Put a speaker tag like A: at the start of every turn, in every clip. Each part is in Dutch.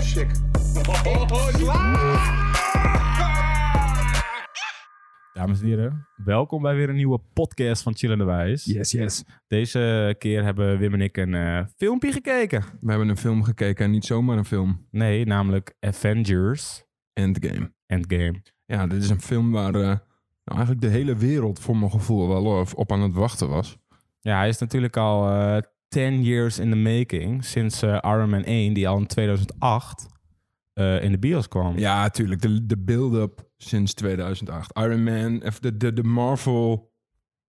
A: chick.
B: Dames en heren, welkom bij weer een nieuwe podcast van Chillende Wijs.
A: Yes, yes.
B: Deze keer hebben Wim en ik een eh, filmpje gekeken.
A: We hebben een film gekeken en niet zomaar een film.
B: Nee, namelijk Avengers
A: Endgame.
B: Endgame.
A: Ja, dit is een film waar eh, nou, eigenlijk de hele wereld voor mijn gevoel wel eh, op aan het wachten was.
B: Ja, hij is natuurlijk al eh 10 years in the making. Sinds eh, Iron Man 1, die al in 2008 eh, in de bios kwam.
A: Ja, tuurlijk. De, de build-up sinds 2008. Iron Man, of de, de, de Marvel...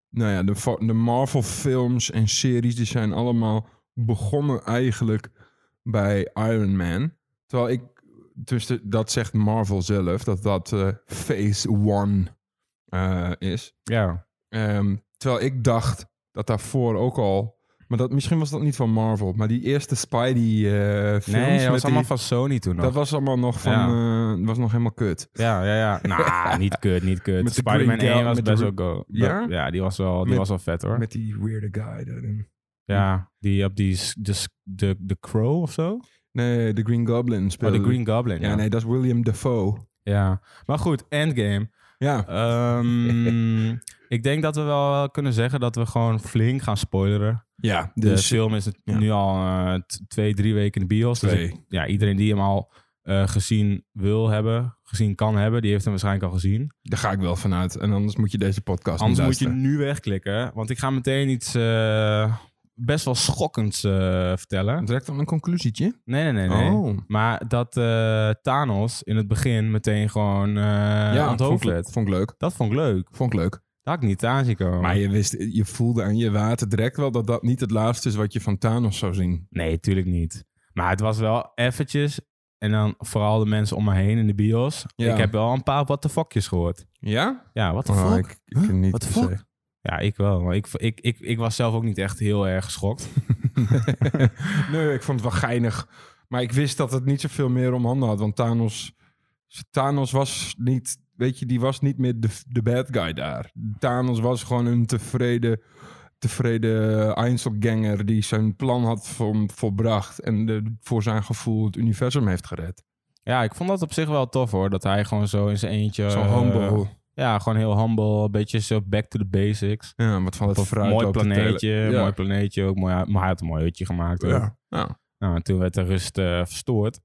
A: Nou ja, de, fa- de Marvel films en series, die zijn allemaal begonnen eigenlijk bij Iron Man. Terwijl ik... Dus de- dat zegt Marvel zelf, dat dat eh, phase one eh, is.
B: Ja.
A: Ehm, terwijl ik dacht dat daarvoor ook al... Maar dat, misschien was dat niet van Marvel, maar die eerste eh, Spidey-films...
B: Nee, dat was allemaal van Sony toen nog.
A: Dat was allemaal nog van... eh, was nog helemaal kut.
B: Ja, ja, ja. Nou, niet kut, niet kut.
A: Met de
B: Spider-Man
A: Green Goblin,
B: 1 was
A: met de
B: best wel
A: Ru-
B: go.
A: Ja?
B: Ja, die was wel, die
A: Met-
B: was wel vet hoor.
A: Met die weirde guy daarin.
B: ja, die op die, s- de, s- de, de Crow of zo?
A: Nee, de Green Goblin
B: Oh,
A: speelde.
B: de Green Goblin. Ja,
A: Ja, nee, dat is William Dafoe.
B: ja. maar goed, Endgame.
A: Ja,
B: Ehm, ik denk dat we wel kunnen zeggen dat we gewoon flink gaan spoileren.
A: ja
B: De
A: dus...
B: film is het
A: ja.
B: nu al eh, t- twee, drie weken in de bios. Dus
A: Twee.
B: ik- ja, iedereen die hem al eh, gezien wil hebben, gezien kan hebben, die heeft hem waarschijnlijk al gezien.
A: Daar ga ik wel vanuit. En anders moet je deze podcast
B: Anders
A: niet
B: moet je
A: luisteren.
B: nu wegklikken, want ik ga meteen iets eh, best wel schokkends eh, vertellen.
A: Direct dan een conclusietje.
B: Nee, nee, nee. nee.
A: Oh.
B: Maar dat eh, Thanos in het begin meteen gewoon eh aan het hoofd Oh.
A: vond ik,
B: werd.
A: vond ik leuk.
B: Dat vond ik leuk.
A: Vond ik leuk.
B: Dat had ik niet aanzien komen.
A: Maar je, wist, je voelde aan je water direct wel dat dat niet het laatste is wat je van Thanos zou zien.
B: Nee, tuurlijk niet. Maar het was wel eventjes. En dan vooral de mensen om me heen in de bios.
A: Ja.
B: Ik heb wel een paar what the fuckjes gehoord.
A: Ja?
B: Ja, what the
A: Oh,
B: fuck?
A: ik, ik niet
B: What the
A: per se.
B: fuck? Ja, ik wel. Maar ik, ik, ik, ik was zelf ook niet echt heel erg geschokt.
A: nee, ik vond het wel geinig. Maar ik wist dat het niet zoveel meer om handen had. Want Thanos, Thanos was niet... Weet je, die was niet meer de, de bad guy daar. Thanos was gewoon een tevreden... Tevreden Einzelganger die zijn plan had vo- volbracht. En de, voor zijn gevoel het universum heeft gered.
B: Ja, ik vond dat op zich wel tof hoor. Dat hij gewoon zo in zijn eentje...
A: Zo'n
B: eh,
A: humble.
B: Ja, gewoon heel humble. Een beetje zo back to the basics.
A: Ja, wat van het
B: Of
A: fruit
B: mooi
A: loopt te
B: planeetje.
A: telen. Ja.
B: Mooi planeetje ook. Mooi, maar hij had een mooi hutje gemaakt. ook.
A: Ja. Ja.
B: Nou, en toen werd de rust eh, verstoord.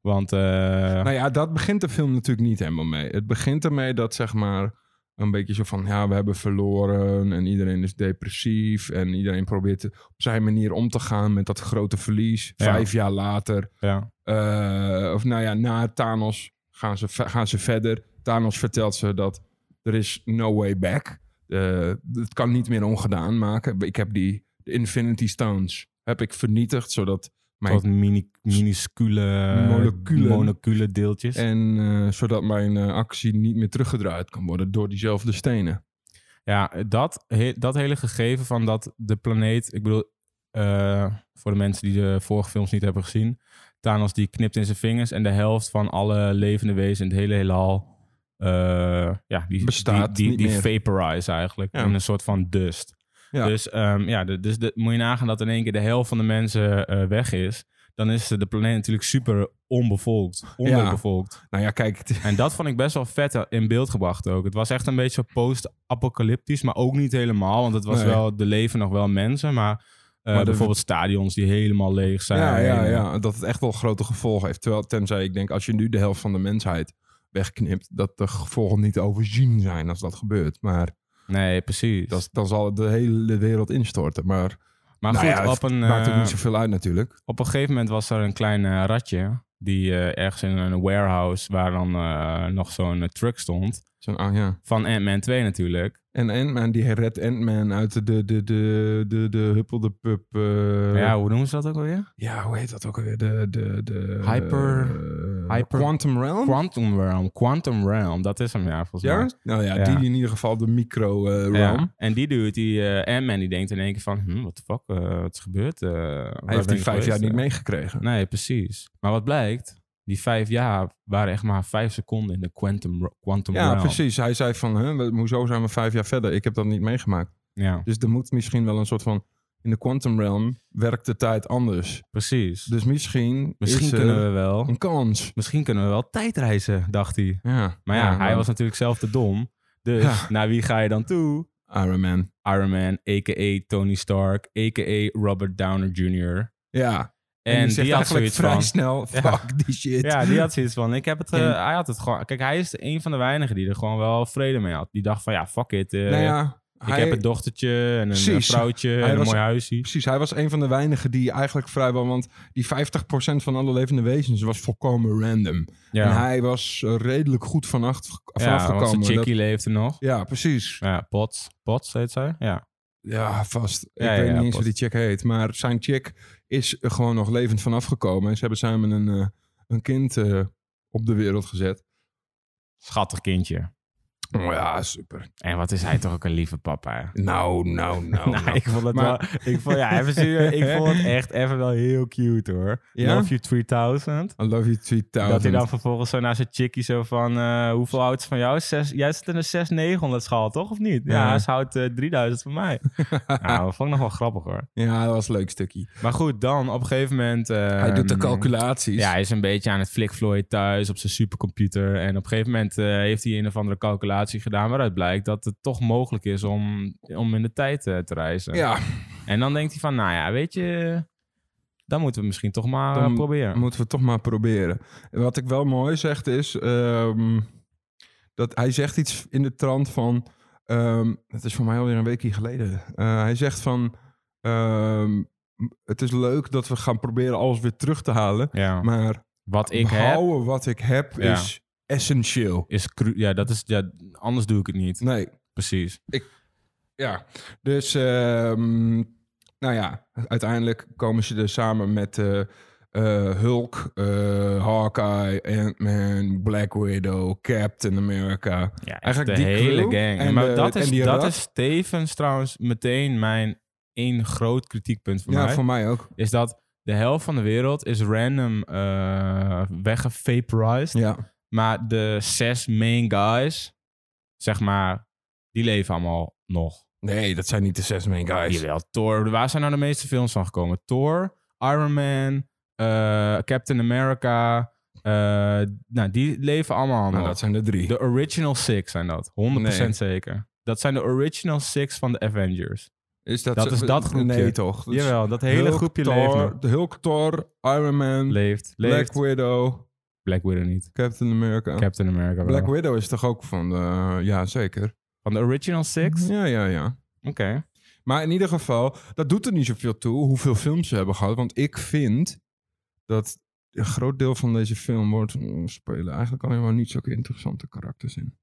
B: Want... eh,
A: Nou ja, dat begint de film natuurlijk niet helemaal mee. Het begint ermee dat zeg maar een beetje zo van ja, we hebben verloren en iedereen is depressief en iedereen probeert te- op zijn manier om te gaan met dat grote verlies.
B: Ja.
A: Vijf jaar later,
B: ja.
A: eh, of nou ja, na Thanos gaan ze, ve- gaan ze verder. Thanos vertelt ze dat er is no way back. Eh het kan niet meer ongedaan maken. Ik heb die de Infinity Stones heb ik vernietigd zodat mijn
B: Tot mini, minuscule
A: Moleculen.
B: moleculen deeltjes.
A: En eh, zodat mijn eh, actie niet meer teruggedraaid kan worden door diezelfde stenen.
B: Ja, dat, he- dat hele gegeven van dat de planeet... Ik bedoel, eh, voor de mensen die de vorige films niet hebben gezien... Thanos die knipt in zijn vingers en de helft van alle levende wezens in het hele heelal... eh, ja, die,
A: Bestaat
B: die, die,
A: niet
B: die
A: meer.
B: vaporize eigenlijk.
A: Ja.
B: In een soort van dust.
A: Ja.
B: Dus, ehm, ja, de- dus de, moet je nagaan dat in één keer de helft van de mensen eh, weg is. Dan is de planeet natuurlijk super onbevolkt. Onderbevolkt.
A: Nou ja, kijk, het-
B: En dat vond ik best wel vet in beeld gebracht ook. Het was echt een beetje zo post-apocalyptisch, maar ook niet helemaal. Want het was
A: Nee.
B: wel, er leven nog wel mensen, maar, eh,
A: Maar de-
B: bijvoorbeeld stadions die helemaal leeg zijn.
A: ja, ja, ja, dat het echt wel grote gevolgen heeft. Terwijl, tenzij ik denk, als je nu de helft van de mensheid wegknipt, dat de gevolgen niet te overzien zijn als dat gebeurt. Maar
B: Nee, precies.
A: dat, dan zal de hele wereld instorten. Maar
B: maar
A: nou
B: goed,
A: ja, het
B: op, een,
A: maakt ook
B: eh,
A: niet zoveel uit natuurlijk.
B: op een gegeven moment was er een klein eh, ratje. Die eh, ergens in een warehouse waar dan eh, nog zo'n eh, truck stond.
A: Zo'n, ah, ja.
B: Van Ant-Man 2 natuurlijk.
A: En Ant-Man, die red Ant-Man uit de, de, de, de, de, de huppel de pup. eh,
B: ja, hoe noemen ze dat ook alweer?
A: ja, hoe heet dat ook alweer? De, de, de,
B: Hyper-
A: eh,
B: hyper-
A: Quantum Realm?
B: Quantum Realm. Quantum Realm, dat is hem ja, volgens mij.
A: Ja? Nou ja,
B: Ja.
A: die in ieder geval de micro eh
B: Ja,
A: realm.
B: En die dude, die eh Ant-Man, die denkt in één keer van... Hm, what the fuck, eh, wat is gebeurd? Eh, waar
A: Hij heeft
B: ben
A: die
B: ik
A: vijf
B: geweest?
A: jaar niet meegekregen.
B: Nee, precies. Maar wat blijkt, die vijf jaar waren echt maar vijf seconden in de quantum, quantum
A: Ja,
B: realm.
A: precies. Hij zei van, hè, we- hoezo zijn we vijf jaar verder? Ik heb dat niet meegemaakt.
B: Ja,
A: Dus er moet misschien wel een soort van in de quantum realm werkt de tijd anders.
B: Precies.
A: Dus misschien,
B: Misschien
A: is er
B: kunnen we wel.
A: een kans.
B: Misschien kunnen we wel tijdreizen, dacht hij.
A: Ja.
B: Maar ja, hij
A: dan
B: was natuurlijk zelf te dom. Dus
A: Ja.
B: naar wie ga je dan toe?
A: Iron Man.
B: Iron Man, a.k.a. Tony Stark, a.k.a. Robert Downer Jr.
A: Ja.
B: En,
A: die
B: die,
A: zegt
B: had
A: eigenlijk
B: zoiets
A: vrij
B: van...
A: snel, fuck
B: Ja.
A: die shit.
B: Ja, die had zoiets van... Ik heb het, eh,
A: En-
B: hij had het gewoon... Kijk, hij is een van de weinigen die er gewoon wel vrede mee had. Die dacht van, ja, fuck it. eh,
A: Nou ja,
B: ik
A: hij,
B: heb een dochtertje en een eh,
A: Precies.
B: vrouwtje en een
A: was-
B: mooi huisje.
A: precies, hij was een van de weinigen die eigenlijk vrijwel... Want die 50% van alle levende wezens was volkomen random.
B: Ja,
A: En hij was eh, redelijk goed vanaf, vanaf
B: ja want
A: gekomen.
B: zijn
A: Dat-
B: chickie leefde nog.
A: ja, precies.
B: Ja, Pots. Pots heet zij? Ja.
A: Ja, vast.
B: Ja,
A: ik
B: ja,
A: weet
B: ja,
A: niet eens hoe
B: pas.
A: die chick heet. Maar zijn chick is er gewoon nog levend vanaf gekomen. En ze hebben samen een, eh, een kind eh, op de wereld gezet.
B: Schattig kindje.
A: Oh ja, super.
B: En wat is hij toch ook een lieve papa. hè?
A: Nou, nou, nou.
B: Nou,
A: nou.
B: ik vond het
A: Maar-
B: wel... Ik vond, ja, even serieus, ik vond het echt even wel heel cute, hoor.
A: Ja?
B: Love you 3000.
A: I love you 3000.
B: Dat hij dan vervolgens zo naar zijn chickie zo van... eh, hoeveel houdt ze van jou? Zes, jij zit in een 6900 schaal, toch? Of niet? Ja,
A: Ja.
B: ze houdt eh, 3000 van mij. nou, dat vond ik nog wel grappig, hoor.
A: Ja, dat was een leuk stukje.
B: Maar goed, dan op een gegeven moment...
A: Hij doet de
B: ehm,
A: calculaties.
B: Ja, hij is een beetje aan het flikvlooien thuis op zijn supercomputer. En op een gegeven moment eh, heeft hij een of andere calculatie gedaan... waaruit blijkt dat het toch mogelijk is om, om in de tijd eh, te reizen.
A: Ja,
B: En dan denkt hij van, nou ja, weet je... Dan moeten we misschien toch maar
A: Dan
B: eh, proberen.
A: moeten we het toch maar proberen. Wat ik wel mooi zegt is... ehm, dat hij zegt iets in de trant van... ehm het is voor mij alweer een weekje geleden. Eh, hij zegt van... ehm, het is leuk dat we gaan proberen alles weer terug te halen.
B: Ja.
A: Maar
B: Wat ik heb,
A: behouden wat ik heb
B: Ja.
A: is essentieel.
B: is... cru- Ja, dat is... Ja, anders doe ik het niet.
A: Nee,
B: Precies.
A: ja. Dus, ehm, nou ja, uiteindelijk komen ze er samen met eh, eh, Hulk, eh, Hawkeye, Ant-Man, Black Widow, Captain America.
B: Ja,
A: Eigenlijk
B: Eigenlijk
A: die
B: de hele
A: crew
B: gang.
A: en
B: maar
A: de-
B: dat,
A: en
B: is,
A: die
B: dat
A: rat.
B: is tevens trouwens meteen mijn één groot kritiekpunt voor
A: ja,
B: mij.
A: voor mij ook.
B: Is dat de helft van de wereld is random eh weggevaporized.
A: Ja,
B: Maar de zes main guys, zeg maar, die leven allemaal nog.
A: nee, dat zijn niet de zes main guys.
B: Jawel, Thor. Waar zijn nou de meeste films van gekomen? Thor, Iron Man, eh, Captain America. eh, nou, die leven allemaal
A: Nou,
B: nog.
A: dat zijn de drie.
B: De original six zijn dat. 100% zeker. Dat zijn de original six van de Avengers.
A: is Dus dat,
B: dat is dat groepje.
A: Nee, toch? Dus
B: Jawel, dat hele
A: Hulk,
B: groepje
A: Thor,
B: leeft nog.
A: De Hulk, Thor, Iron Man,
B: leeft.
A: Black
B: Leeft.
A: Widow,
B: Black Widow niet.
A: Captain America.
B: Captain America wel.
A: Black Widow is toch ook van de... Ja, zeker.
B: Van de original six?
A: Ja, ja, ja.
B: Oké.
A: Maar in ieder geval, dat doet er niet zoveel toe hoeveel films ze hebben gehad. Want ik vind dat een groot deel van deze film wordt mm, spelen eigenlijk helemaal niet zulke interessante karakters in.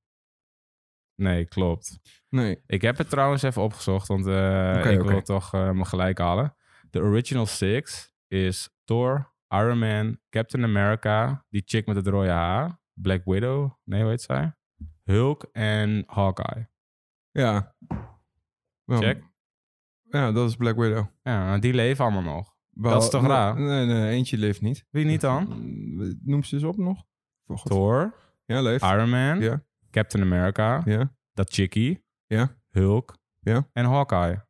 B: Nee, klopt.
A: Nee.
B: Ik heb het trouwens even opgezocht, want eh, ik
A: oké.
B: wil toch eh, me gelijk halen. De original six is Thor, Iron Man, Captain America, die chick met het rode haar, Black Widow, nee, hoe heet zij? Hulk en Hawkeye.
A: Ja. Wel,
B: Check.
A: Ja, dat is Black Widow.
B: Ja, nou, die leven allemaal nog.
A: Wel-
B: Dat is toch
A: nee,
B: raar?
A: Nee, nee, eentje leeft niet.
B: Wie niet dan?
A: Mm, Noem ze eens op nog. Oh, God.
B: Thor,
A: Ja, leeft.
B: Iron Man,
A: Ja.
B: Captain America,
A: Ja.
B: dat chickie,
A: Ja.
B: Hulk
A: Ja.
B: en Hawkeye.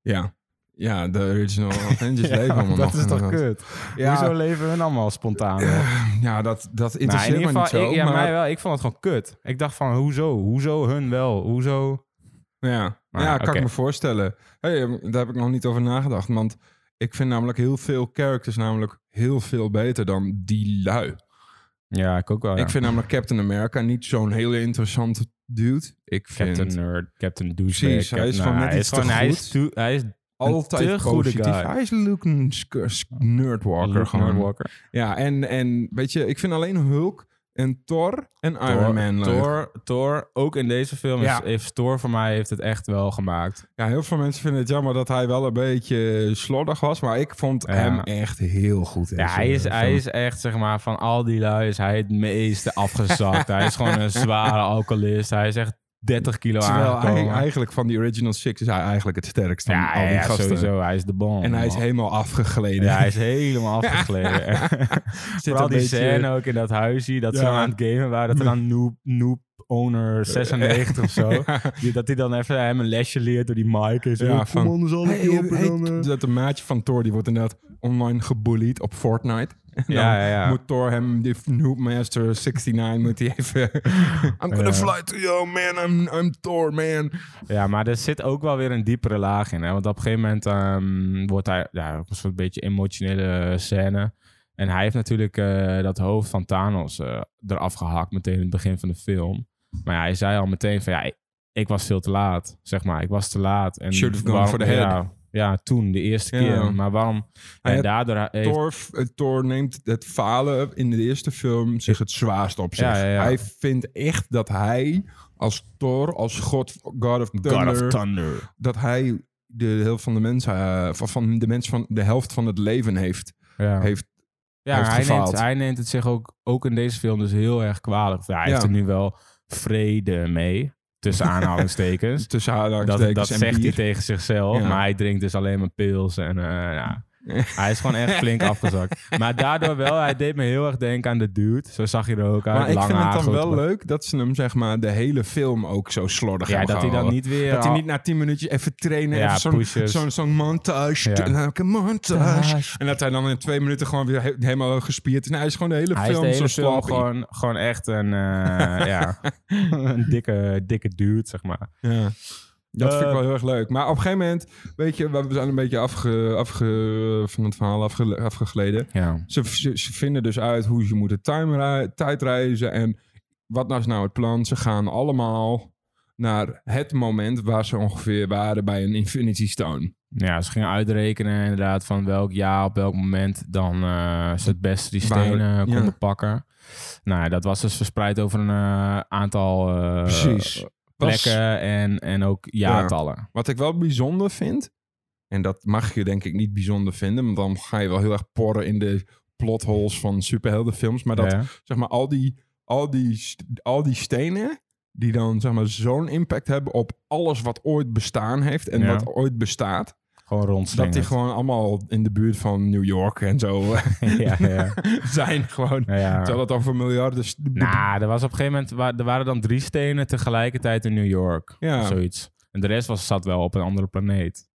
A: Ja. Ja, de original Avengers
B: Ja,
A: leven allemaal
B: dat
A: nog,
B: is toch
A: inderdaad.
B: kut? Hoezo
A: Ja,
B: leven hun allemaal spontaan? Nou, nog?
A: ja dat, dat
B: Nou,
A: interesseert me niet zo.
B: ik, ja,
A: maar,
B: mij wel. Ik vond het gewoon kut. Ik dacht van, hoezo? Hoezo hun wel? Hoezo?
A: Ja,
B: Maar
A: ja
B: ja,
A: kan
B: oké.
A: ik me voorstellen. Hey, ehm, daar heb ik nog niet over nagedacht. Want ik vind namelijk heel veel characters namelijk heel veel beter dan die lui.
B: Oh Ja, ik ook wel.
A: Ik vind namelijk Captain America niet zo'n hele interessante dude. Ik vind
B: Captain Nerd, Captain Douchebag.
A: Precies, hij is
B: Captain-
A: gewoon
B: nou,
A: net
B: hij is
A: iets te
B: gewoon, hij
A: goed.
B: is toe- hij is
A: altijd
B: te goede
A: positief.
B: guy.
A: Hij is Luke een sk- sk- Nerdwalker
B: Luke
A: gewoon.
B: Skywalker.
A: Ja, en, en weet je, ik vind alleen Hulk en Thor en Iron
B: Thor-
A: Man leuk.
B: Thor, Thor, ook in deze film,
A: Ja.
B: is, heeft Thor voor mij heeft het echt wel gemaakt.
A: Ja, heel veel mensen vinden het jammer dat hij wel een beetje slordig was. Maar ik vond
B: Ja.
A: hem echt heel goed. in
B: Ja, hij,
A: deze eh,
B: is, hij
A: film.
B: is echt, zeg maar, van al die lui is hij het meeste afgezakt. hij is gewoon een zware alcoholist. Hij is echt 30 kilo
A: Terwijl
B: aangekomen.
A: hij, eigenlijk van die Original Six is hij eigenlijk het sterkst van
B: ja,
A: al die
B: ja,
A: gasten.
B: sowieso. Hij is de bom.
A: En hij is
B: man.
A: helemaal afgegleden.
B: Ja, hij is helemaal afgegleden.
A: Zit
B: Vooral
A: een
B: die
A: beetje-
B: scène ook in dat huisje, dat ze
A: Ja. Eh,
B: aan het gamen waren, dat er dan noob, noob owner 96 of zo. Die- dat hij dan even hem een lesje leert door die Mike. En zo,
A: Ja,
B: ja,
A: van-
B: kom anders alle
A: Hey,
B: keer op en
A: hey,
B: dan, eh.
A: dat een maatje van Thor, die wordt inderdaad online gebullied op Fortnite. En dan
B: Ja, ja, ja.
A: moet Thor hem, die Noob Master 69, moet hij even... I'm gonna
B: Ja.
A: fly to you, man. I'm, I'm Thor, man.
B: Ja, maar er zit ook wel weer een diepere laag in. Hè? Want op een gegeven moment ehm, wordt hij ja, ook een soort beetje emotionele scène. En hij heeft natuurlijk eh, dat hoofd van Thanos eh, eraf gehakt meteen in het begin van de film. Maar ja, hij zei al meteen van ja, ik, ik was veel te laat, zeg maar. Ik was te laat. En
A: Should have gone
B: waarom-
A: for the head.
B: Ja, ja, toen, de eerste
A: Ja.
B: keer. Maar waarom?
A: Hij
B: En
A: had-
B: daardoor heeft
A: Thor, eh, Thor neemt het falen in de eerste film zich het zwaarst op zich.
B: Ja, ja, ja.
A: Hij vindt echt dat hij als Thor, als God, God of Thunder,
B: God of Thunder.
A: dat hij de helft van de mensen, eh, van, van de mensen van de helft van het leven heeft.
B: Ja.
A: heeft
B: Ja,
A: heeft
B: hij neemt,
A: gefaald.
B: hij neemt het zich ook, ook in deze film dus heel erg kwalijk. Ja, hij
A: Ja.
B: heeft er nu wel vrede mee, tussen aanhalingstekens.
A: tussen
B: dat dat
A: aanhalingstekens en
B: zegt hij
A: bier.
B: tegen zichzelf,
A: Ja.
B: maar hij drinkt dus alleen maar pils. En, eh, ja. Hij is gewoon echt flink afgezakt. Maar daardoor wel, hij deed me heel erg denken aan de dude. Zo zag je er ook uit.
A: Maar ik
B: lange
A: vind het
B: haar,
A: dan
B: grote
A: wel
B: bek.
A: leuk dat ze hem zeg maar de hele film ook zo slordig
B: Ja,
A: hebben
B: dat hij dan
A: gehouden.
B: niet weer...
A: Dat hij
B: al-
A: niet na tien minuutjes even trainen,
B: Ja,
A: even zo'n
B: pushes.
A: zo'n zo'n montage,
B: Ja.
A: like a
B: Ah,
A: montage. En dat hij dan in twee minuten gewoon weer he- helemaal gespierd is. Nou, hij is gewoon de hele
B: hij is
A: film
B: de hele
A: zo
B: film
A: sloppy.
B: gewoon, gewoon echt een, eh, ja, een dikke, dikke dude, zeg maar.
A: Ja. Dat vind ik
B: Eh,
A: wel heel erg leuk. Maar op een gegeven moment, weet je, we zijn een beetje afge, afge, van het verhaal afge, afgegleden.
B: Ja.
A: Ze, ze, ze vinden dus uit hoe ze moeten timer, tijdreizen en wat nou is nou het plan. Ze gaan allemaal naar het moment waar ze ongeveer waren bij een Infinity Stone.
B: Ja, ze gingen uitrekenen inderdaad van welk jaar, op welk moment dan eh, ze het beste die
A: Waar-
B: stenen eh,
A: ja.
B: konden pakken. Nou ja, dat was dus verspreid over een eh, aantal eh,
A: Pas-
B: plekken en, en ook jaartallen.
A: Wat ik wel bijzonder vind, en dat mag je denk ik niet bijzonder vinden, want dan ga je wel heel erg porren in de plotholes van superheldenfilms. Maar dat
B: Ja.
A: zeg maar al die, al die, st- al die stenen die dan zeg maar zo'n impact hebben op alles wat ooit bestaan heeft en
B: Ja.
A: wat ooit bestaat,
B: Gewoon
A: dat
B: rondslingerd.
A: die gewoon allemaal in de buurt van New York en zo eh,
B: ja, ja.
A: zijn gewoon.
B: ja, ja.
A: Terwijl het over miljarden. st-
B: Nou, er was op een gegeven moment, wa- er waren dan drie stenen tegelijkertijd in New York.
A: Ja.
B: Of zoiets. En de rest was, zat wel op een andere planeet.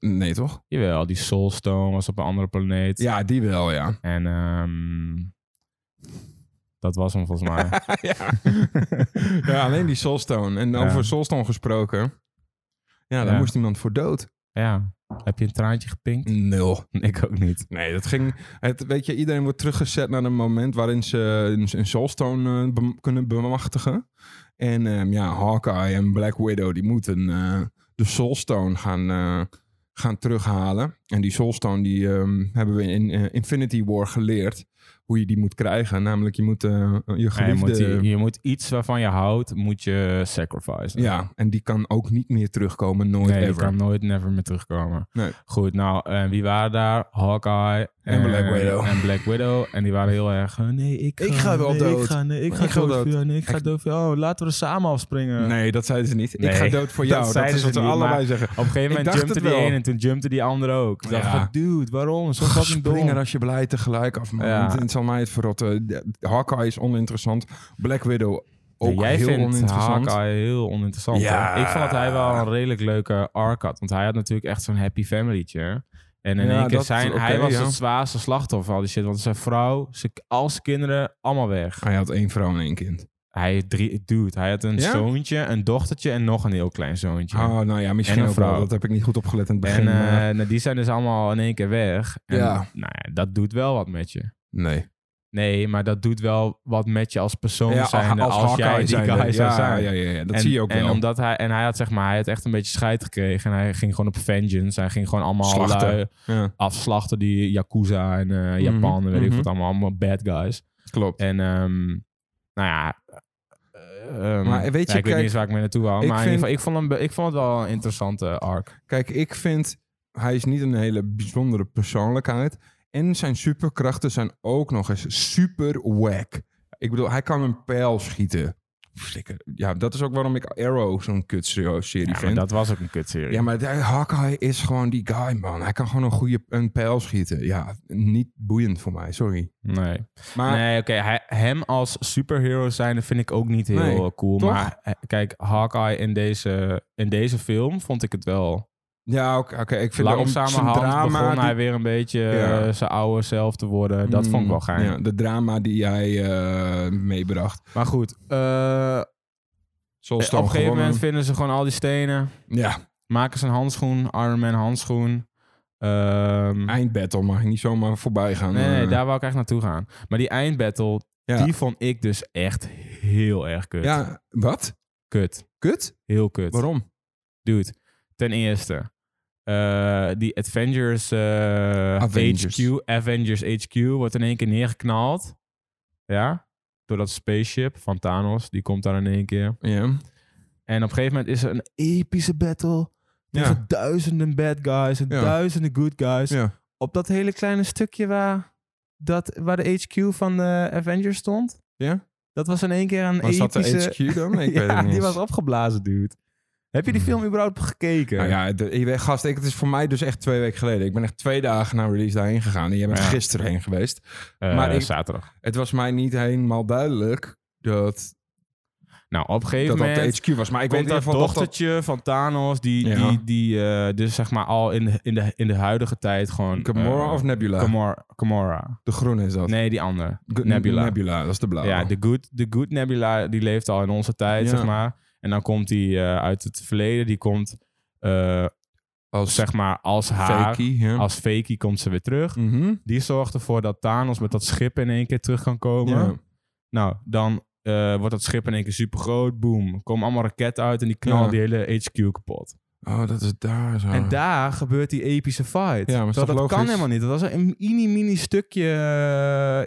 A: Nee toch?
B: Jawel, die Soulstone was op een andere planeet.
A: Ja, die wel, ja.
B: En ehm, dat was hem volgens mij.
A: ja. ja, alleen die Soulstone. En
B: Ja.
A: over Soulstone gesproken. Ja, daar
B: Ja.
A: moest iemand voor dood.
B: Ja. Heb je een traantje gepinkt?
A: Nul.
B: Ik ook niet.
A: Nee, dat ging. Het, weet je, iedereen wordt teruggezet naar een moment waarin ze een, een Soulstone eh, bem- kunnen bemachtigen. En ehm, ja, Hawkeye en Black Widow die moeten eh, de Soulstone gaan, eh, gaan terughalen. En die Soulstone die ehm, hebben we in eh, Infinity War geleerd hoe je die moet krijgen. Namelijk, je moet eh, je
B: Ja, je,
A: geliefde.
B: moet, je, je moet iets waarvan je houdt, moet je sacrificen.
A: ja, en die kan ook niet meer terugkomen, nooit
B: Nee, die
A: ever.
B: kan nooit never meer terugkomen.
A: Nee.
B: Goed, nou, en wie waren daar? Hawkeye eh,
A: En Black Widow.
B: En Black Widow. En die waren heel erg, eh, nee, ik ga,
A: Ik ga wel
B: nee,
A: dood.
B: Ik ga, nee, ik
A: Ik
B: ga,
A: ga
B: dood.
A: dood.
B: voor jou, nee, ik ga
A: Ik-
B: dood. voor jou. Oh, laten we er samen afspringen.
A: Nee, dat zeiden ze niet.
B: Nee,
A: Ik ga dood voor
B: dat
A: jou. Dat,
B: zeiden
A: is wat
B: ze
A: ze
B: niet,
A: allebei
B: maar-
A: zeggen.
B: Op een gegeven
A: Ik
B: moment
A: dacht
B: jumpte
A: het
B: die
A: wel.
B: een en toen jumpte die andere ook. Ik dacht
A: Ja.
B: van, dude, waarom? Zo fucking dom.
A: Springer als je blij tegelijk af, man.
B: Ja.
A: Het, het zal mij het verrotten. De- Hawkeye is oninteressant. Black Widow ook
B: Nee, jij
A: heel
B: vindt
A: oninteressant.
B: Hawkeye heel oninteressant.
A: Ja.
B: hoor. Ik vond dat hij wel een redelijk leuke arc had. Want hij had natuurlijk echt zo'n happy familytje. En in
A: Ja,
B: één keer
A: dat-
B: zijn...
A: oké,
B: hij was
A: ja.
B: het zwaarste slachtoffer van al die shit. Want zijn vrouw, zijn, al zijn kinderen, allemaal weg.
A: Hij had één vrouw en één kind.
B: Hij heeft drie... Dude, hij had een
A: Ja?
B: zoontje, een dochtertje en nog een heel klein zoontje.
A: Oh, nou ja,
B: En
A: misschien
B: een
A: ook wel.
B: vrouw.
A: Dat heb ik niet goed opgelet in het begin.
B: en eh,
A: maar-
B: nou, die zijn dus allemaal in één keer weg. En,
A: Ja.
B: Nou ja, dat doet wel wat met je.
A: nee.
B: Nee, maar dat doet wel wat met je als persoon
A: Ja,
B: zijnde. Als, jij die
A: zijnde.
B: guy zou
A: ja,
B: zijn.
A: Ja, ja, ja, dat
B: en,
A: zie je ook
B: en
A: wel.
B: Omdat hij, en hij had zeg maar, hij had echt een beetje scheid gekregen. En hij ging gewoon op vengeance. Hij ging gewoon allemaal
A: Slachten.
B: lui
A: Ja,
B: afslachten. Die Yakuza en eh, Japan en weet ik
A: mhm.
B: wat allemaal. Allemaal bad guys.
A: klopt.
B: En ehm, nou ja... eh, ehm,
A: Maar weet je,
B: ja, ik weet
A: kijk,
B: niet eens waar ik mee naartoe wou. Maar
A: ik
B: in ieder
A: vind-
B: geval, ik vond, hem, be- ik vond het wel een interessante arc.
A: Kijk, ik vind... Hij is niet een hele bijzondere persoonlijkheid. En zijn superkrachten zijn ook nog eens super wack. Ik bedoel, hij kan een pijl schieten. Flikker. Ja, dat is ook waarom ik Arrow zo'n kutserie
B: Ja, maar
A: vind.
B: dat was ook een kutserie.
A: Ja, maar de- Hawkeye is gewoon die guy, man. Hij kan gewoon een goede een pijl schieten. Ja, niet boeiend voor mij, sorry.
B: Nee.
A: Maar
B: Nee, oké. hij- Hem als superhero zijnde vind ik ook niet heel
A: Nee,
B: eh, cool.
A: toch?
B: Maar eh, kijk, Hawkeye in deze, in deze film vond ik het wel.
A: ja, oké, oké, ik vind om zijn
B: Langzamerhand begon
A: die-
B: hij weer een beetje
A: Ja.
B: eh, zijn oude zelf te worden. Dat vond ik wel
A: Mm,
B: gaaf.
A: Ja, de drama die hij eh, meebracht.
B: Maar goed, eh, op een
A: Zoals
B: gegeven moment vinden ze gewoon al die stenen.
A: Ja,
B: Maken ze een handschoen, Iron Man handschoen. Ehm,
A: eindbattle mag ik niet zomaar voorbij gaan.
B: nee, nee,
A: eh.
B: daar wou ik echt naartoe gaan. Maar die eindbattle,
A: Ja.
B: die vond ik dus echt heel erg kut.
A: Ja, wat?
B: Kut.
A: Kut?
B: Heel kut.
A: Waarom?
B: Dude, ten eerste. eh, die Avengers, eh,
A: Avengers.
B: HQ, Avengers HQ wordt in één keer neergeknald. Ja, door dat spaceship van Thanos. Die komt daar in één keer.
A: Ja.
B: En op een gegeven moment is er een epische battle. Tegen
A: Ja.
B: duizenden bad guys en
A: Ja.
B: duizenden good guys.
A: ja.
B: Op dat hele kleine stukje waar, dat, waar de HQ van de Avengers stond.
A: Ja?
B: Dat was in één keer een
A: Maar zat de
B: epische...
A: HQ dan? Ik
B: ja,
A: weet het niet.
B: die
A: eens.
B: was opgeblazen, dude. Heb je die
A: Hmm.
B: film überhaupt gekeken?
A: Nou ja, de, ik- gast, ik, het is voor mij dus echt twee weken geleden. Ik ben echt twee dagen na release daarheen gegaan. En jij bent
B: Ja.
A: gisteren heen geweest.
B: Eh,
A: Maar ik-
B: zaterdag.
A: Het was mij niet helemaal duidelijk dat
B: Nou, op een gegeven
A: dat, dat
B: moment
A: de HQ was. Maar ik weet in
B: komt
A: ieder
B: dat
A: geval dat dat...
B: dochtertje van Thanos, die,
A: Ja.
B: die, die eh, dus zeg maar al in de, in de, in de huidige tijd gewoon...
A: Gamora
B: eh,
A: of Nebula?
B: Gamora, Gamora.
A: de groene is dat.
B: Nee, die andere.
A: G-
B: Nebula.
A: Nebula, dat is de blauwe.
B: Ja, de good, de good Nebula, die leeft al in onze tijd,
A: Ja.
B: zeg maar. En dan komt die eh, uit het verleden, die komt, eh,
A: Als
B: zeg maar, als haar...
A: fakie. Ja.
B: Als fakie komt ze weer terug.
A: Mhm.
B: Die zorgt ervoor dat Thanos met dat schip in één keer terug kan komen.
A: Ja.
B: Nou, dan eh, wordt dat schip in één keer super groot. Boom. Komen allemaal raketten uit en die knallen
A: Ja.
B: die hele HQ kapot.
A: Oh, dat is daar zo.
B: En daar gebeurt die epische fight.
A: Ja, maar is
B: dat,
A: toch
B: dat kan
A: logisch?
B: helemaal niet. Dat was een mini-mini stukje.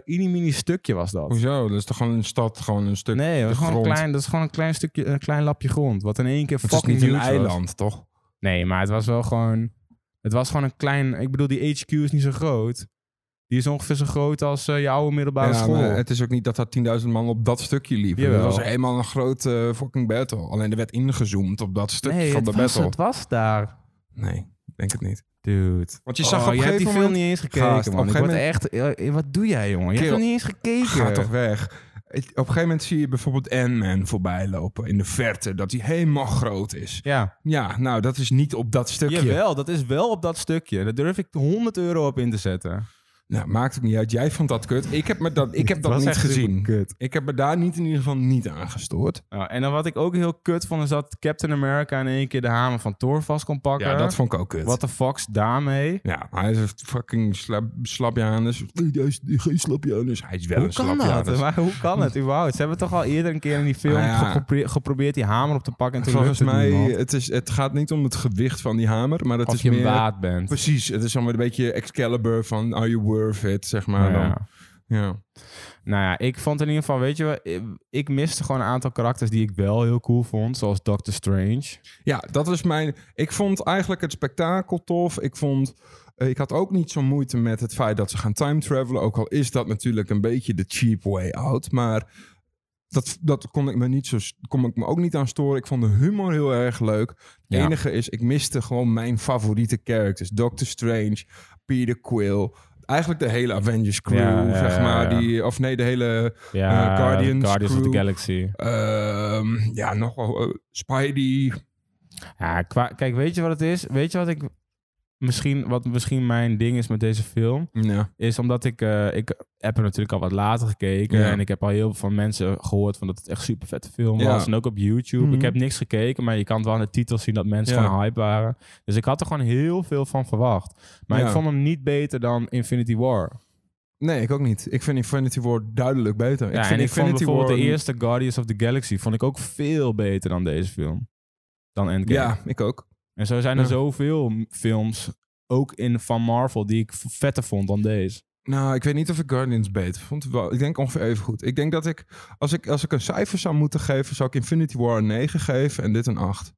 B: eh, mini-mini stukje was dat.
A: Hoezo? Dat is toch gewoon een stad, gewoon een Oh, stuk...
B: Nee, dat is,
A: de
B: gewoon een
A: grond.
B: klein, dat is gewoon een klein stukje, een klein lapje grond. Wat in één keer
A: het is
B: fucking
A: niet een
B: huge was.
A: eiland, toch?
B: Nee, maar het was wel gewoon. Het was gewoon een klein. Ik bedoel, die HQ is niet zo groot. Die is ongeveer zo groot als eh, je oude middelbare
A: Ja,
B: school.
A: maar het is ook niet dat daar 10.000 man op dat stukje liepen.
B: Jawel.
A: Dat was helemaal een grote eh, fucking battle. Alleen er werd ingezoomd op dat stukje
B: nee,
A: van
B: het was,
A: de battle.
B: het was daar.
A: Nee, ik denk het niet.
B: Dude.
A: Want je zag
B: Oh,
A: op een
B: je hebt
A: gegeven
B: die
A: moment...
B: film niet eens gekeken,
A: Gast,
B: man.
A: op een
B: Ik word
A: gegeven
B: echt... eh, Wat doe jij, jongen? Je hebt
A: Kerel,
B: er niet eens gekeken.
A: Ga toch weg. Het- Op een gegeven moment zie je bijvoorbeeld Ant-Man voorbij lopen in de verte. Dat hij helemaal groot is.
B: Ja.
A: Ja, nou, dat is niet op dat stukje.
B: Jawel, dat is wel op dat stukje. Daar durf ik 100 euro op in te zetten.
A: Nou, maakt ook niet uit. Jij vond dat kut. Ik heb, me dat, ik heb
B: Het
A: dat
B: was
A: niet
B: echt
A: gezien.
B: superkut.
A: Ik heb me daar niet in ieder geval niet aan gestoord.
B: Nou, en dan wat ik ook heel kut vond, is dat Captain America in één keer de hamer van Thor vast kon pakken.
A: Ja, dat vond ik ook kut.
B: Wat de fox daarmee?
A: Ja, maar hij is een fucking slap, slapjanus. Nee, Hij is geen slapjanus. Hij is wel
B: Hoe
A: een
B: kan
A: slapjanus.
B: dat? Maar hoe kan het überhaupt? Ze hebben toch al eerder een keer in die film
A: Ah, ja.
B: gepropre- geprobeerd die hamer op te pakken. En toen
A: Volgens
B: lukte het
A: mij,
B: niemand.
A: het, is, het gaat niet om het gewicht van die hamer, maar het
B: Als
A: is
B: je
A: meer...
B: een waard bent.
A: Precies, het is allemaal een beetje Excalibur van are you worth it, zeg maar.
B: Nou ja.
A: Ja. Dan. Ja.
B: Nou ja, ik vond in ieder geval, weet je wel, ik- ik miste gewoon een aantal karakters die ik wel heel cool vond, zoals Doctor Strange.
A: ja, dat is mijn... Ik vond eigenlijk het spektakel tof. Ik vond... eh, Ik had ook niet zo'n moeite met het feit dat ze gaan time travelen. Ook al is dat natuurlijk een beetje de cheap way out. Maar dat, dat kon, ik me niet zo, kon ik me ook niet aan storen. Ik vond de humor heel erg leuk. Het
B: Ja.
A: enige is, ik miste gewoon mijn favoriete characters. Doctor Strange, Peter Quill. Eigenlijk de hele Avengers crew,
B: Ja, ja,
A: zeg
B: ja,
A: maar.
B: ja.
A: Die, of nee, de hele...
B: Ja,
A: Eh, Guardians,
B: Guardians of the
A: Crew.
B: Galaxy.
A: Ehm, ja, nog wel. eh, Spidey.
B: Ja, qua, kijk, weet je wat het is? Weet je wat ik misschien, wat misschien mijn ding is met deze film?
A: Ja.
B: Is omdat ik, eh, ik heb er natuurlijk al wat later gekeken
A: Ja.
B: en ik heb al heel veel van mensen gehoord van dat het echt super vette film
A: Ja.
B: was. En ook op YouTube.
A: Mhm.
B: Ik heb niks gekeken, maar je kan het wel aan de titel zien dat mensen
A: Ja.
B: gewoon hype waren. Dus ik had er gewoon heel veel van verwacht. Maar ik
A: Ja.
B: vond hem niet beter dan Infinity War.
A: Nee, ik ook niet. Ik vind Infinity War duidelijk beter.
B: Ja,
A: ik vind
B: en ik vond bijvoorbeeld de
A: een-
B: eerste Guardians of the Galaxy vond ik ook veel beter dan deze film. Dan Endgame.
A: Ja, ik ook.
B: En zo zijn er
A: Ja.
B: zoveel m- films, ook in van Marvel, die ik v- vetter vond dan deze.
A: Nou, ik weet niet of ik Guardians beter vond. Wel, ik denk ongeveer even goed. Ik denk dat ik als, ik, als ik een cijfer zou moeten geven, zou ik Infinity War een 9 geven en dit een 8.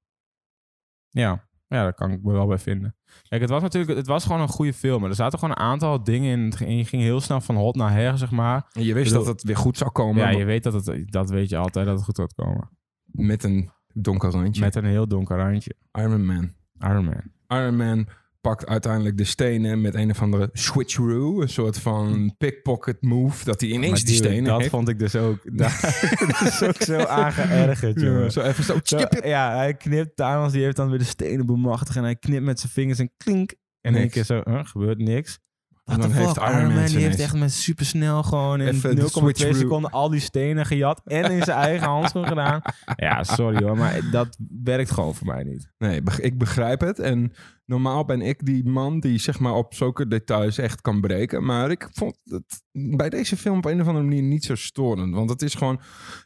B: Ja. Ja, daar kan ik me wel bij vinden. Kijk, het was natuurlijk het was gewoon een goede film. maar Er zaten gewoon een aantal dingen in. En je ging heel snel van hot naar her, zeg maar.
A: En je wist
B: Bedoel-
A: dat het weer goed zou komen.
B: Ja, je weet dat het, dat weet je altijd, dat het goed gaat komen.
A: Met een donker randje.
B: Met een heel donker randje.
A: Iron Man.
B: Iron Man.
A: Iron Man pakt uiteindelijk de stenen met een of andere switcheroo. Een soort van pickpocket move. Dat hij ineens
B: Maar
A: die
B: dude,
A: stenen
B: Dat
A: heeft.
B: vond ik dus ook... Dat, dat is ook zo aangeërgerd,
A: Ja,
B: jongen.
A: zo even zo.
B: Zo,
A: tjip, tjip.
B: ja, hij knipt. Thanos die heeft dan weer de stenen bemachtigd. En hij knipt met zijn vingers en klink. En in één
A: Niks.
B: keer zo, huh, gebeurt niks.
A: En
B: What
A: dan
B: the
A: heeft
B: fuck?
A: Iron Man
B: die
A: ineens-
B: heeft echt met supersnel gewoon in
A: Even de
B: 0,2
A: switcheroo.
B: seconden al die stenen gejat. En in zijn eigen handschoen gedaan. Ja, sorry hoor, maar dat werkt gewoon voor mij niet.
A: Nee, beg- ik begrijp het. En normaal ben ik die man die zeg maar op zulke details echt kan breken. Maar ik vond het bij deze film op een of andere manier niet zo storend. Want het is gewoon,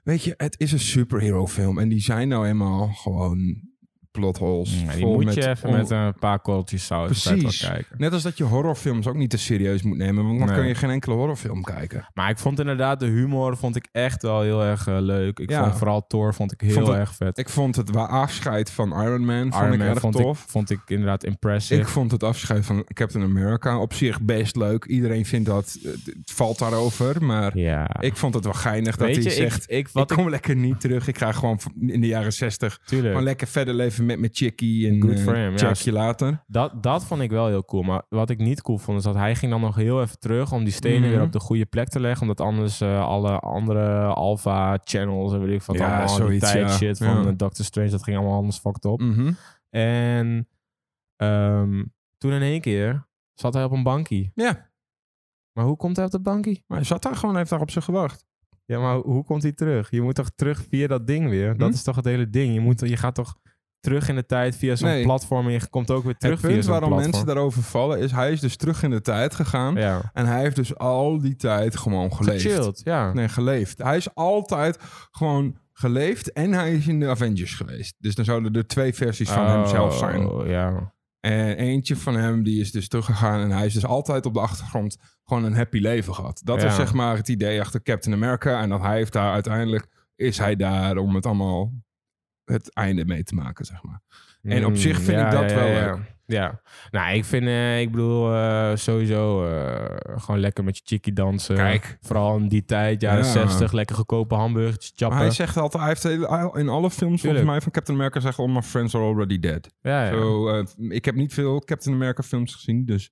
A: weet je, het is een superhero film. En die zijn nou eenmaal gewoon plot holes.
B: Ja, die
A: vol
B: moet je even
A: on-
B: met een paar korreltjes saus bij het wel
A: Precies.
B: kijken.
A: Net als dat je horrorfilms ook niet te serieus moet nemen. Want dan
B: Nee.
A: kun je geen enkele horrorfilm kijken.
B: Maar ik vond inderdaad de humor vond ik echt wel heel erg eh, leuk. Ik
A: Ja.
B: vond vooral Thor vond ik heel
A: Vond het-
B: erg vet.
A: Ik vond het wa- afscheid van Iron Man vond
B: Iron
A: ik
B: Man
A: erg
B: vond
A: tof.
B: Ik, vond ik inderdaad impressive.
A: Ik vond het afscheid van Captain America op zich best leuk. Iedereen vindt dat, eh, het valt daarover. Maar
B: ja.
A: ik vond het wel geinig dat
B: Weet
A: hij
B: je,
A: zegt...
B: ik, ik,
A: Ik
B: wat ik,
A: kom lekker niet terug. Ik ga gewoon v- in de jaren zestig
B: tuurlijk,
A: gewoon lekker verder leven met mijn chickie. En
B: Good
A: eh,
B: for him, ja.
A: check je later.
B: dat, dat vond ik wel heel cool. Maar wat ik niet cool vond, is dat hij ging dan nog heel even terug om die stenen
A: Mhm.
B: weer op de goede plek te leggen. Omdat anders eh, alle andere alpha channels en weet ik wat
A: Ja,
B: allemaal,
A: zoiets,
B: die
A: ja.
B: shit van
A: Ja.
B: eh, Doctor Strange, dat ging allemaal anders fucked op.
A: Mhm.
B: En ehm, toen in één keer zat hij op een bankie.
A: Ja,
B: Maar hoe komt hij op dat bankie?
A: maar hij zat daar gewoon, hij heeft daar op zich gewacht.
B: Ja, maar hoe komt hij terug? Je moet toch terug via dat ding weer? Dat
A: Hm?
B: is toch het hele ding? Je, moet, je gaat toch terug in de tijd via zo'n
A: Nee.
B: platform en je komt ook weer terug
A: het
B: via
A: punt
B: zo'n
A: waarom
B: platform.
A: mensen daarover vallen is... hij is dus terug in de tijd gegaan.
B: Ja.
A: En hij heeft dus al die tijd gewoon geleefd.
B: Gechilled, ja.
A: Nee, geleefd. Hij is altijd gewoon geleefd en hij is in de Avengers geweest. Dus dan zouden er twee versies van hemzelf zijn.
B: Oh, Ja.
A: En eentje van hem die is dus teruggegaan en hij is dus altijd op de achtergrond gewoon een happy leven gehad. Dat
B: Ja.
A: is zeg maar het idee achter Captain America en dat hij heeft daar uiteindelijk is hij daar om het allemaal het einde mee te maken zeg maar. En op
B: Mm,
A: zich vind
B: ja,
A: ik dat
B: ja,
A: wel
B: Ja.
A: leuk.
B: Ja. Nou, ik vind, eh, ik bedoel, eh, sowieso eh, gewoon lekker met je chickie dansen.
A: Kijk.
B: Vooral in die tijd, jaren
A: Ja.
B: 60, lekker goedkope hamburgers,
A: Maar
B: chappen.
A: hij zegt altijd, hij heeft heel- in alle
B: Tuurlijk.
A: films volgens mij van Captain America zeggen all my friends are already dead.
B: ja, ja.
A: Zo, eh, ik heb niet veel Captain America films gezien dus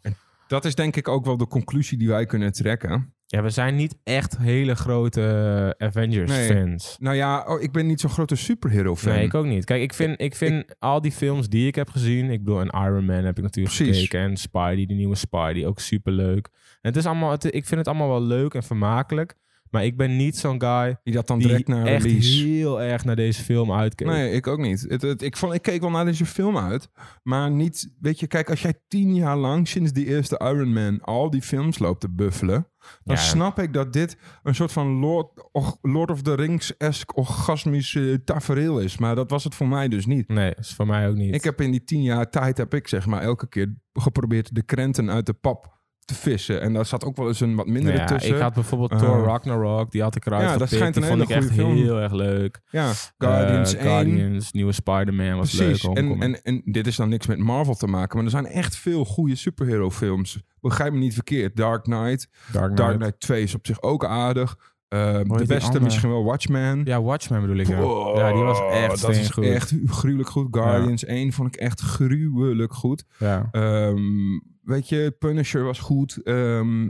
A: en dat is denk ik ook wel de conclusie die wij kunnen trekken.
B: ja, we zijn niet echt hele grote eh,
A: Nee.
B: Avengers-fans.
A: Nou ja, oh, ik ben niet zo'n grote superhero fan.
B: Nee, ik ook niet. Kijk, ik vind, ik vind al die films die ik heb gezien. Ik bedoel, en Iron Man heb ik natuurlijk
A: Precies.
B: gekeken. En Spidey, die nieuwe Spidey, ook superleuk. En het is allemaal, het, ik vind het allemaal wel leuk en vermakelijk. Maar ik ben niet zo'n guy
A: Die dat dan
B: die
A: direct naar
B: echt
A: release.
B: heel erg naar deze film uitkeek.
A: Nee, ik ook niet. Het, het- ik, vond, ik keek wel naar deze film uit. Maar niet, weet je, kijk, als jij tien jaar lang sinds die eerste Iron Man al die films loopt te buffelen. Dan
B: Ja.
A: snap ik dat dit een soort van Lord, och- Lord of the Rings-esque orgasmisch eh, tafereel is. Maar dat was het voor mij dus niet.
B: Nee, is voor mij ook niet.
A: Ik heb in die tien jaar tijd, heb ik zeg maar, elke keer geprobeerd de krenten uit de pap te vissen. En daar zat ook wel eens een wat
B: Nou
A: mindere
B: ja,
A: tussen.
B: Ik had bijvoorbeeld
A: Eh.
B: Thor Ragnarok, die had ik eruit
A: Ja, dat
B: gepikt.
A: schijnt een
B: die vond ik
A: hele
B: echt
A: goede film.
B: heel erg leuk.
A: ja, Guardians
B: Eh,
A: 1.
B: Guardians, nieuwe Spider-Man was
A: Precies.
B: leuk.
A: en, en, en dit is dan niks met Marvel te maken, maar er zijn echt veel goede superhero films. Begrijp me niet verkeerd. Dark Knight.
B: Dark Knight.
A: Dark Knight 2 is op zich ook aardig. Eh, de
B: die
A: beste
B: andere?
A: misschien wel Watchmen.
B: Ja, Watchmen bedoel ik. ja.
A: Wow,
B: ja, die was echt
A: dat is
B: steengoed.
A: echt gruwelijk goed. Guardians 1 vond ik echt gruwelijk goed.
B: Ja.
A: Ehm, weet je, Punisher was goed. Ehm,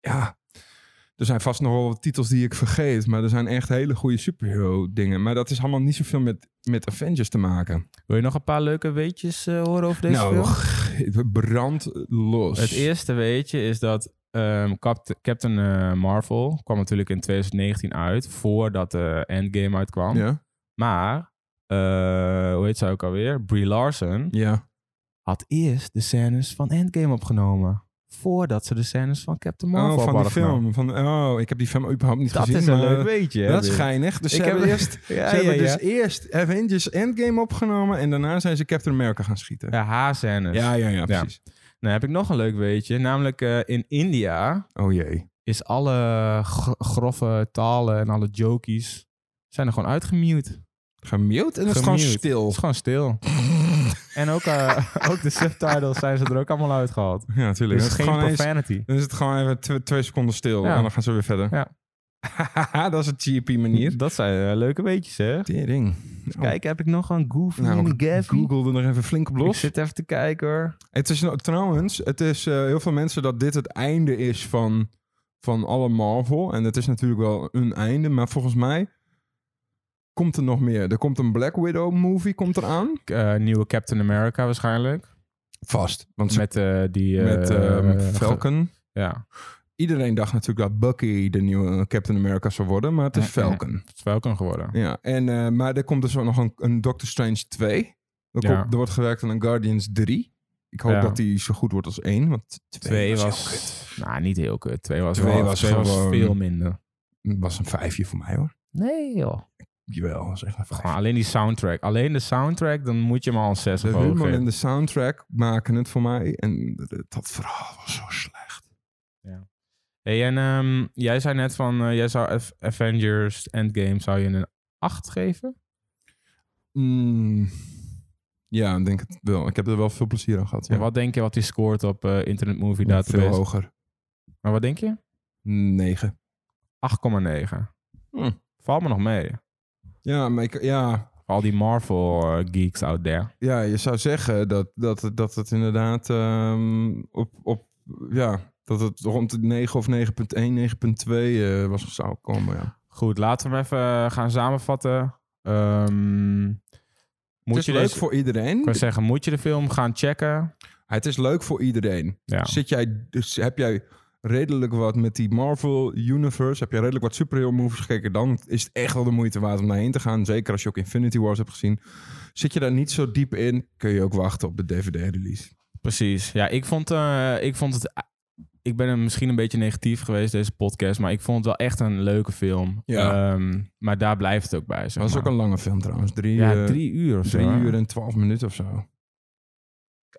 A: ja, er zijn vast nog wel wat titels die ik vergeet, maar er zijn echt hele goede superhero dingen. Maar dat is allemaal niet zoveel met, met Avengers te maken.
B: Wil je nog een paar leuke weetjes eh, horen over
A: Nou,
B: deze film?
A: g- brand los.
B: Het eerste weetje is dat ehm, Capt- Captain eh, Marvel kwam natuurlijk in 2019 uit, voordat de Endgame uitkwam.
A: Ja.
B: Maar, eh, hoe heet zij ook alweer? Brie Larson
A: ja.
B: had eerst de scènes van Endgame opgenomen. Voordat ze de scènes van Captain Marvel
A: Oh,
B: op
A: van die
B: hadden genomen.
A: film. Van, oh, ik heb die film überhaupt niet
B: Dat
A: gezien.
B: is een
A: maar
B: leuk weetje. hè,
A: Dat is
B: Wim?
A: geinig. Dus
B: Ik
A: ze
B: heb-
A: hebben, eerst, ze
B: Ja, ja,
A: hebben
B: ja.
A: dus eerst Avengers Endgame opgenomen en daarna zijn ze Captain America gaan schieten.
B: Ja, haar scènes.
A: ja, ja, ja,
B: Ja.
A: precies.
B: Nou heb ik nog een leuk weetje. Namelijk eh, in India
A: Oh jee.
B: is alle gro- grove talen en alle jokies zijn er gewoon uitgemute.
A: Gemute en het is gewoon
B: Gemute. Het
A: stil.
B: is gewoon stil. En ook, eh, ook de subtitles zijn ze er ook allemaal uitgehaald.
A: Ja, natuurlijk.
B: Dus
A: Dan
B: geen
A: is het gewoon eens-
B: profanity.
A: dan is het gewoon even tw- twee seconden stil
B: Ja.
A: en dan gaan ze weer verder. dat is een GP manier.
B: Dat zijn eh, leuke weetjes, hè?
A: Tering.
B: Kijk, heb ik nog een Nou. goofy
A: Nou,
B: en een gaffy?
A: Google er nog even flink op
B: Ik
A: los.
B: zit even te kijken, hoor.
A: Het is nou- trouwens, het is eh, heel veel mensen dat dit het einde is van, van alle Marvel. En het is natuurlijk wel een einde, maar volgens mij komt er nog meer. Er komt een Black Widow movie komt eraan.
B: Eh, nieuwe Captain America waarschijnlijk.
A: Vast. Want ze- met,
B: Met eh, die... eh,
A: ehm,
B: eh,
A: Falcon.
B: Ja,
A: Iedereen dacht natuurlijk dat Bucky de nieuwe Captain America zou worden, maar het is
B: Ja, ja.
A: Falcon.
B: het is Falcon geworden.
A: Ja, en, eh, maar er komt dus ook nog een, een Doctor Strange 2. Er,
B: Ja.
A: komt- er wordt gewerkt aan een Guardians 3. Ik hoop
B: Ja.
A: dat die zo goed wordt als 1, want 2
B: Twee
A: was,
B: was... Nou, niet heel kut. Twee was,
A: Twee
B: wel-
A: was
B: twee
A: gewoon-
B: veel minder.
A: was een vijfje voor mij hoor.
B: Nee, joh.
A: Jawel, zeg maar
B: Gewoon alleen die soundtrack. Alleen de soundtrack, dan moet je hem al een 6
A: De
B: of hoger
A: humor en
B: geven.
A: de soundtrack maken het voor mij. En d- d- dat verhaal was zo slecht.
B: Hey, en ehm, jij zei net van, eh, jij zou Av- Avengers Endgame zou je een 8 geven?
A: Mm, Ja, ik denk het wel. Ik heb er wel veel plezier aan gehad. Ja.
B: En wat denk je wat die scoort op eh, Internet Movie
A: veel
B: Database?
A: hoger.
B: Maar wat denk je?
A: 9.
B: 8,9.
A: Hm.
B: Valt me nog mee.
A: Ja, maar ik, ja,
B: Al die Marvel eh, geeks out there.
A: ja, je zou zeggen dat, dat, het- dat het inderdaad ehm, op, op... Ja, dat het rond de 9 of 9.1, 9.2 eh, was zou komen. Ja.
B: Goed, laten we hem even eh, gaan samenvatten. Ehm, moet
A: het is
B: je
A: leuk
B: deze,
A: voor
B: ik
A: iedereen.
B: wou zeggen, moet je de film gaan checken?
A: Het is leuk voor iedereen.
B: Ja.
A: Zit jij, dus heb jij redelijk wat met die Marvel Universe? Heb jij redelijk wat superhero movies gekeken? Dan is het echt wel de moeite waard om daarheen te gaan. Zeker als je ook Infinity Wars hebt gezien. Zit je daar niet zo diep in, kun je ook wachten op de DVD-release.
B: Precies. Ja, ik vond, eh, ik vond het. Ik ben er misschien een beetje negatief geweest deze podcast, maar ik vond het wel echt een leuke film.
A: Ja.
B: Ehm, maar daar blijft het ook bij. Zeg
A: Dat was ook
B: maar.
A: een lange film trouwens. Drie,
B: ja,
A: eh,
B: drie uur of zo.
A: drie
B: hè?
A: uur en twaalf minuten of zo.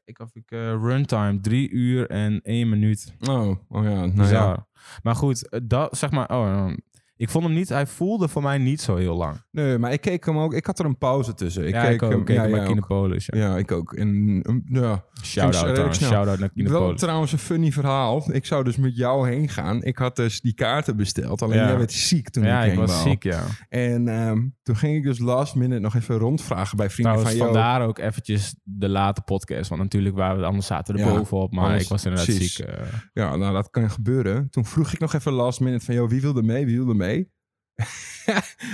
B: Kijk of ik eh, runtime drie uur en één minuut.
A: Oh, oh ja. Nou
B: Bizar.
A: ja.
B: Maar goed, eh, dat zeg maar. Oh, eh, ik vond hem niet. Hij voelde voor mij niet zo heel lang.
A: Nee, maar ik keek hem ook. Ik had er een pauze tussen. Ik
B: ja,
A: keek
B: ik ook.
A: hem.
B: keek
A: ja,
B: hem bij
A: ja, ook.
B: Kinepolis. Ja.
A: ja, ik ook. En, mm, ja,
B: Shout out.
A: redelijk
B: trouwens.
A: snel.
B: Shout out naar
A: Wel
B: Kinepolis.
A: trouwens een funny verhaal. Ik zou dus met jou heen gaan. Ik had dus die kaarten besteld. Alleen
B: Ja.
A: jij werd ziek toen
B: Ja,
A: ik
B: ik
A: heen
B: was
A: wou.
B: ziek, ja.
A: En ehm, toen ging ik dus last minute nog even rondvragen bij vrienden
B: Trouwens,
A: van jou.
B: vandaar ook eventjes de late podcast. Want natuurlijk waren we anders zaten er
A: Ja,
B: bovenop. Maar
A: anders-
B: ik was inderdaad
A: precies.
B: ziek. eh.
A: Ja, nou dat kan gebeuren. Toen vroeg ik nog even last minute van joh, wie wilde mee, wie wilde mee?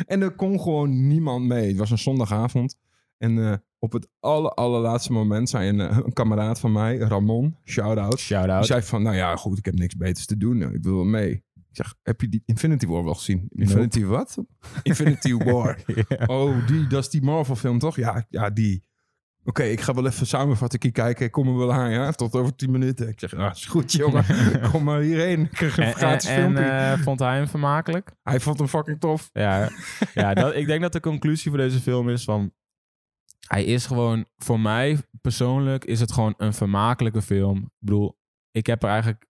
A: en er kon gewoon niemand mee. Het was een zondagavond. En eh, op het aller, allerlaatste moment zei een, eh, een kameraad van mij, Ramon, shout-out.
B: Shout-out.
A: Die zei van, nou ja, goed, ik heb niks beters te doen. Ik wil wel mee. Ik zeg, heb je die Infinity War wel gezien? Infinity wat? Infinity War.
B: Ja.
A: Oh, die, dat is die Marvel film, toch? Ja, ja die. Oké, ik ga wel even samenvatten ik kijken. Ik kom er wel aan, ja. Tot over tien minuten. Ik zeg, ah, is goed, jongen. kom maar hierheen. Ik krijg een
B: En, en,
A: gratis
B: en
A: filmpje.
B: eh, vond hij hem vermakelijk?
A: Hij vond hem fucking tof.
B: Ja, ja dat, ik denk dat de conclusie voor deze film is van... Hij is gewoon, voor mij persoonlijk, is het gewoon een vermakelijke film. Ik bedoel, ik heb er eigenlijk...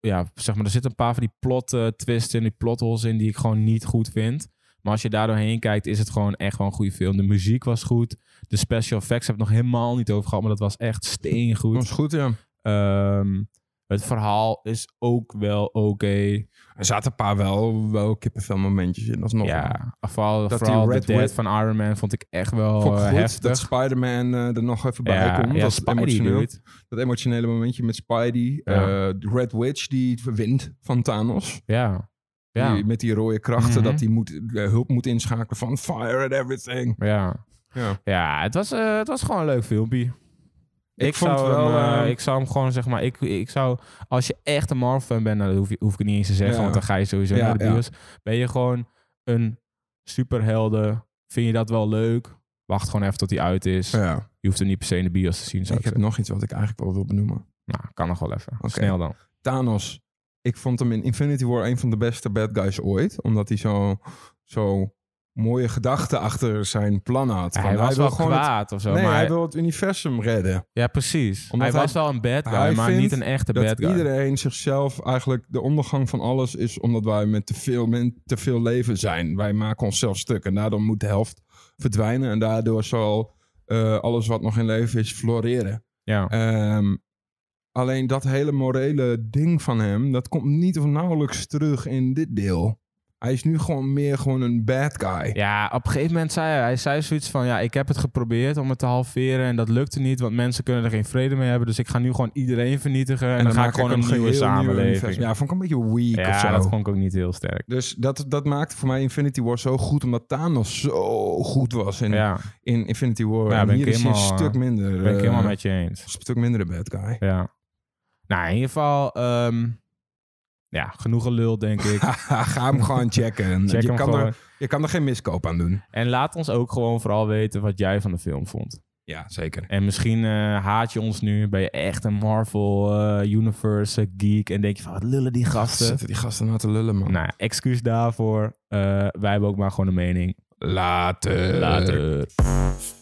B: Ja, zeg maar, er zitten een paar van die plot eh, twists in, die plot holes in, die ik gewoon niet goed vind. Maar als je daar doorheen kijkt, is het gewoon echt wel een goede film. De muziek was goed. De special effects heb ik nog helemaal niet over gehad, maar dat was echt steengoed.
A: was goed, ja.
B: Ehm, het verhaal is ook wel oké.
A: Er zaten een paar wel, wel kippenfilmmomentjes in, alsnog.
B: Ja, vooral,
A: Dat
B: vooral
A: die
B: de
A: Red
B: dead
A: Wed-
B: van Iron Man vond ik echt wel
A: Vond ik
B: eh,
A: goed dat
B: heftig.
A: Spider-Man eh, er nog even bij komt. dat,
B: Spidey,
A: emotioneel,
B: dude.
A: dat emotionele momentje met Spidey.
B: Ja.
A: Eh, de Red Witch, die wint van Thanos.
B: Ja, ja,
A: Die, met die rode krachten,
B: Mhm.
A: dat hij moet, eh, hulp moet inschakelen van fire and everything.
B: ja.
A: Ja.
B: Ja, het was, eh, het was gewoon een leuk filmpje. Ik,
A: Ik vond
B: zou
A: wel,
B: hem, eh,
A: eh,
B: ik zou hem gewoon, zeg maar, ik, ik zou, als je echt een Marvel-fan bent, nou, dat hoef, je, hoef ik het niet eens te zeggen,
A: Ja.
B: want dan ga je sowieso
A: Ja,
B: naar de
A: ja.
B: bios. Ben je gewoon een superhelden, vind je dat wel leuk? Wacht gewoon even tot hij uit is.
A: Ja.
B: Je hoeft hem niet per se in de bios te zien, zou
A: Ik
B: ik
A: heb nog iets wat ik eigenlijk wel wil benoemen.
B: zeggen. Nou, kan nog wel even.
A: Oké.
B: Snel dan.
A: Thanos. Ik vond hem in Infinity War een van de beste bad guys ooit. Omdat hij zo, zo mooie gedachten achter zijn plan had. Van,
B: hij was wel
A: gewoon het,
B: kwaad of zo,
A: Nee,
B: maar
A: hij wil het universum redden.
B: Ja, precies.
A: Omdat
B: hij
A: hij-
B: was wel een bad guy,
A: hij
B: maar
A: vindt
B: niet een echte
A: dat
B: bad guy.
A: iedereen zichzelf eigenlijk... De ondergang van alles is omdat wij met te veel, men- te veel leven zijn. Wij maken onszelf stuk. En daardoor moet de helft verdwijnen. En daardoor zal eh, eh, alles wat nog in leven is floreren.
B: Ja.
A: Ehm, alleen dat hele morele ding van hem, dat komt niet of nauwelijks terug in dit deel. Hij is nu gewoon meer gewoon een bad guy.
B: Ja, op een gegeven moment zei hij, hij zei zoiets van, ja, ik heb het geprobeerd om het te halveren en dat lukte niet, want mensen kunnen er geen vrede mee hebben, dus ik ga nu gewoon iedereen vernietigen en, dan, ga ik
A: maak
B: gewoon een
A: geheel
B: nieuwe samenleving.
A: universum. ja, vond ik een beetje weak of zo.
B: ja, dat vond ik ook niet heel sterk.
A: Dus dat, dat maakte voor mij Infinity War zo goed, omdat Thanos zo goed was in,
B: Ja,
A: in Infinity War.
B: Ja,
A: en
B: ben
A: hier
B: ik
A: is hij een
B: helemaal,
A: stuk minder.
B: ben ik
A: eh,
B: helemaal met je eens.
A: Een stuk minder de bad guy.
B: Ja. Nou, in ieder geval, ehm, ja, genoeg gelul, denk ik.
A: Ga hem gewoon checken.
B: Check
A: je,
B: hem
A: kan
B: gewoon.
A: er, je kan er geen miskoop aan doen.
B: En laat ons ook gewoon vooral weten wat jij van de film vond.
A: Ja, zeker.
B: En misschien eh, haat je ons nu, ben je echt een Marvel eh, Universe eh, geek en denk je van, wat lullen die gasten.
A: Zitten die gasten nou te lullen, man.
B: Nou, excuus daarvoor. Eh, wij hebben ook maar gewoon een mening.
A: Later.
B: Later.